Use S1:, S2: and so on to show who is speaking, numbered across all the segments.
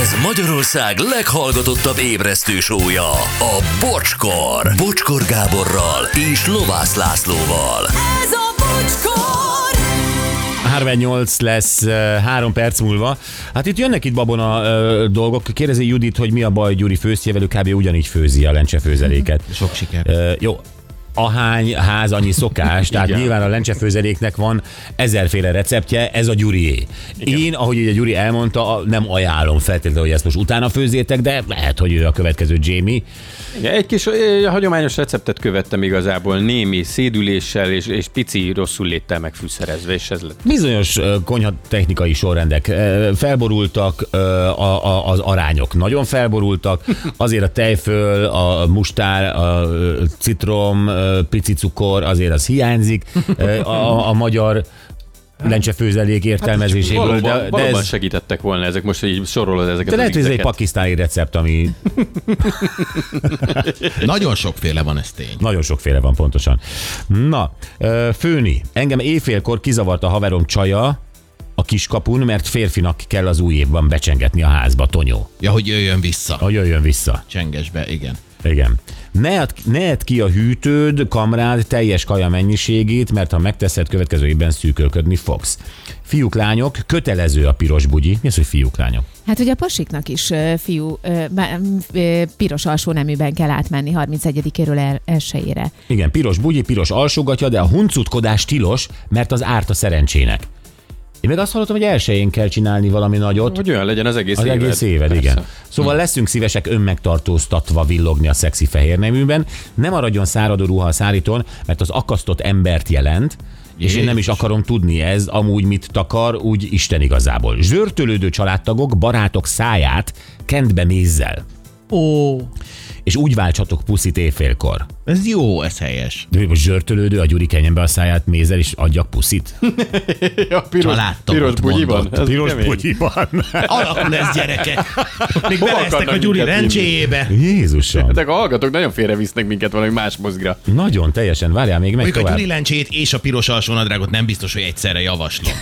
S1: Ez Magyarország leghallgatottabb ébresztő sója, a Bocskor. Bocskor Gáborral és Lovász Lászlóval.
S2: Ez a bocskor!
S3: 38 lesz eh, három perc múlva. Hát itt jönnek itt babona eh, dolgok. Kérdezi Judit, hogy mi a baj Gyuri főztjével, ő kb. ugyanígy főzi a lencsefőzeléket.
S4: Mhm. Sok siker.
S3: Eh, Jó, ahány ház, annyi szokás, tehát
S4: Igen.
S3: nyilván a lencsefőzeléknek van ezerféle receptje, ez a Gyurié. Én, ahogy ugye Gyuri elmondta, a- nem ajánlom feltétlenül, hogy ezt most utána főzzétek, de lehet, hogy ő a következő Jamie.
S5: Igen, egy kis ö, hagyományos receptet követtem igazából némi szédüléssel és, és pici rosszul léttel megfűszerezve, és ez lett.
S3: Bizonyos ö, konyhatechnikai sorrendek ö, felborultak, ö, a- a- az arányok nagyon felborultak, azért a tejföl, a mustár, a ö, citrom, ö, pici cukor, azért az hiányzik ö, a, a magyar lencsefőzelék értelmezéséből.
S5: Hát, Valóban,
S3: De, de,
S5: valóban
S3: ez,
S5: segítettek volna ezek, most így sorolod ezeket
S3: de lehet,
S5: az
S3: hogy ez egy
S5: ízeket.
S3: pakisztáni recept, ami
S4: Nagyon sokféle van, ez tény.
S3: Nagyon sokféle van pontosan. Na, ö, főni. Engem éjfélkor kizavart a haverom csaja a kiskapun, mert férfinak kell az új évben becsengetni a házba, Tonyó.
S4: Ja, hogy jöjjön vissza.
S3: Hogy jöjjön vissza.
S4: Csengesbe, igen.
S3: Igen. Ne add, ne add ki a hűtőd, kamrád teljes kaja mennyiségét, mert ha megteszed, következő évben szűkölködni fogsz. Fiúk, lányok, kötelező a piros bugyi. Mi az, hogy fiúk, lányok?
S6: Hát ugye a pasiknak is ö, fiú ö, bá- m- ö, piros alsó neműben kell átmenni 31-éről el, elsőjére.
S3: Igen, piros bugyi, piros alsógatja, de a huncutkodás tilos, mert az árt a szerencsének. Én meg azt hallottam, hogy elsőjén kell csinálni valami nagyot.
S5: Hogy olyan legyen az egész
S3: Az
S5: éved.
S3: egész éved,
S5: Persze.
S3: igen. Szóval leszünk szívesek önmegtartóztatva villogni a szexi fehér neműben. Ne maradjon száradó ruha a szárítón, mert az akasztott embert jelent, és én nem is akarom tudni ez amúgy mit takar, úgy Isten igazából. Zsörtölődő családtagok, barátok száját kent be mézzel,
S4: Ó,
S3: és úgy váltsatok puszit éjfélkor.
S4: ez jó, ez helyes.
S3: De hogy most zsörtölődő, a Gyuri kenjen be a száját mézzel, és adjak puszit?
S5: Ja, piros,
S4: Családtagot
S5: piros bugyiban.
S4: mondott.
S5: Ez kemény.
S3: putyiban.
S4: Alakul ez, gyerekek. Még
S5: Hova
S4: beleztek a
S5: akarnak
S4: Gyuri
S5: minket
S4: rendjébe.
S3: Jézusom.
S5: De Hát a hallgatók nagyon félrevisznek minket valami más mozgra.
S3: Nagyon teljesen, várjál még meg
S4: Mondjuk a
S3: tovább.
S4: Gyuri lencsét és a piros alsónadrágot nem biztos, hogy egyszerre javaslom.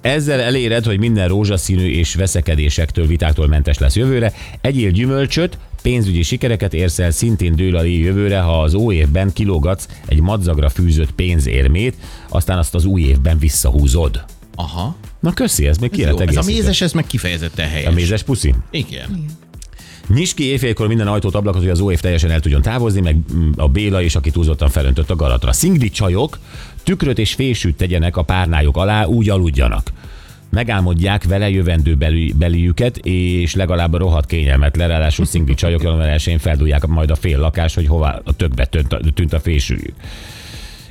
S3: Ezzel eléred, hogy minden rózsaszínű és veszekedésektől, vitáktól mentes lesz jövőre. Egyél gyümölcsöt, pénzügyi sikereket érsz el, szintén dől a lé jövőre, ha az új évben kilógatsz egy madzagra fűzött pénzérmét, aztán azt az új évben visszahúzod.
S4: Aha.
S3: Na köszi, ez még ki
S4: Jó,
S3: lehet
S4: ez a
S3: egészíteni.
S4: mézes, ez meg kifejezetten helyes.
S3: A mézes puszi?
S4: Igen.
S3: Nyisd ki éjfélkor minden ajtót, ablakot, hogy az OF teljesen el tudjon távozni, meg mm, a Béla is, aki túlzottan felöntött a garatra. Szingli csajok tükröt és fésűt tegyenek a párnájuk alá, úgy aludjanak. Megálmodják vele jövendő beli, beliüket, és legalább a rohadt kényelmet lerálású szingli csajok január 1 feldúlják majd a fél lakás, hogy hová a tökbe tönt a, tűnt a fésűjük.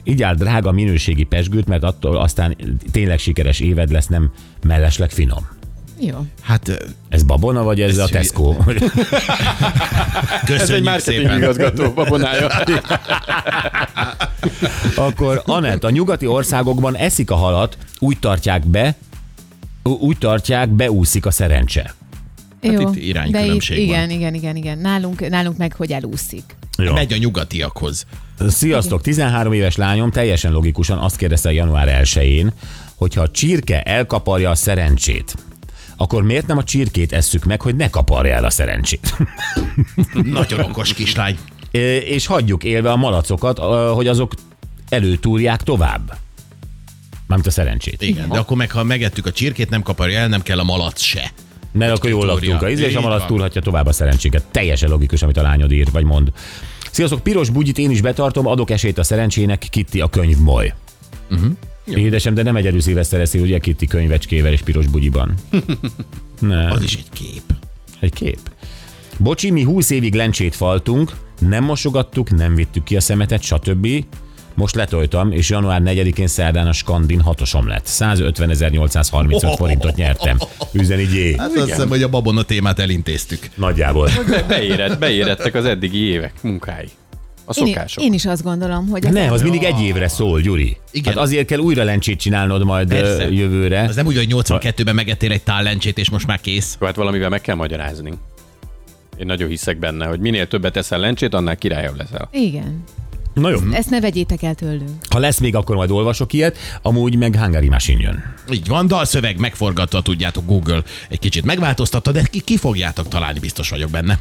S3: Így áll drága minőségi pesgőt, mert attól aztán tényleg sikeres éved lesz, nem mellesleg finom.
S6: Jó.
S4: Hát ö,
S3: Ez babona, vagy ez, ez a
S4: hülye.
S3: Tesco?
S5: Ez egy
S4: köszönjük
S5: marketing
S4: szépen.
S5: igazgató babonája.
S3: Akkor Anett, a nyugati országokban eszik a halat, úgy tartják be, ú- úgy tartják, beúszik a szerencse.
S4: Hát
S6: Jó.
S4: itt
S6: De itt,
S4: iránykülönbség
S6: igen, igen, igen, igen. Nálunk, nálunk meg hogy elúszik.
S3: Jó.
S4: Megy a nyugatiakhoz.
S3: Sziasztok, 13 éves lányom teljesen logikusan azt kérdezte január 1-én, hogyha a csirke elkaparja a szerencsét, akkor miért nem a csirkét esszük meg, hogy ne kaparja el a szerencsét?
S4: Nagyon okos kislány.
S3: Ö, És hagyjuk élve a malacokat, ö, hogy azok előtúrják tovább. Mármint a szerencsét.
S4: Igen, de akkor meg, ha megettük a csirkét, nem kaparja el, nem kell a malac se.
S3: Mert akkor jól
S4: túrja.
S3: laktunk a ízre, és a
S4: Így
S3: malac
S4: van.
S3: túlhatja tovább a szerencséget. Teljesen logikus, amit a lányod ír, vagy mond. Sziasztok, piros bugyit én is betartom, adok esélyt a szerencsének, Kitti a könyvmoly.
S4: Mhm.
S3: Uh-huh. Édesem, de nem egyedül szilveszter eszi, ugye Kitti könyvecskével és piros bugyiban.
S4: Az is egy kép.
S5: Hát
S3: Egy kép. Bocsi, mi 20 évig lencsét faltunk, nem mosogattuk, nem vittük ki a szemetet, stb. Most letoltam, és január 4-én szerdán a Skandin hatosom lett. 150.835 forintot nyertem. Üzeni G.
S4: Hát azt hiszem, hogy a babona témát elintéztük.
S3: Nagyjából.
S5: Be- Beérett, beérettek az eddigi évek munkái. A
S6: Én,
S5: szokások.
S6: én is azt gondolom, hogy ez
S3: Nem, az mindig egy évre szól, Gyuri. Igen.
S4: Igen.
S3: Hát azért kell újra lencsét csinálnod majd Persze.
S4: Persze.
S3: jövőre.
S4: Az nem úgy, hogy 82-ben megettél egy tál lencsét, és most már kész.
S5: Jó, Hát valamivel meg kell magyarázni. Én nagyon hiszek benne, hogy minél többet eszel lencsét, annál királyabb leszel.
S6: Igen.
S3: Na jó.
S6: Ezt ne vegyétek el tőlünk.
S3: Ha lesz még, akkor majd olvasok ilyet. Amúgy meg Hungary Machine jön.
S4: Így van, dalszöveg megforgatta, tudjátok, Google egy kicsit megváltoztatta, de ki, ki fogjátok találni, biztos vagyok benne.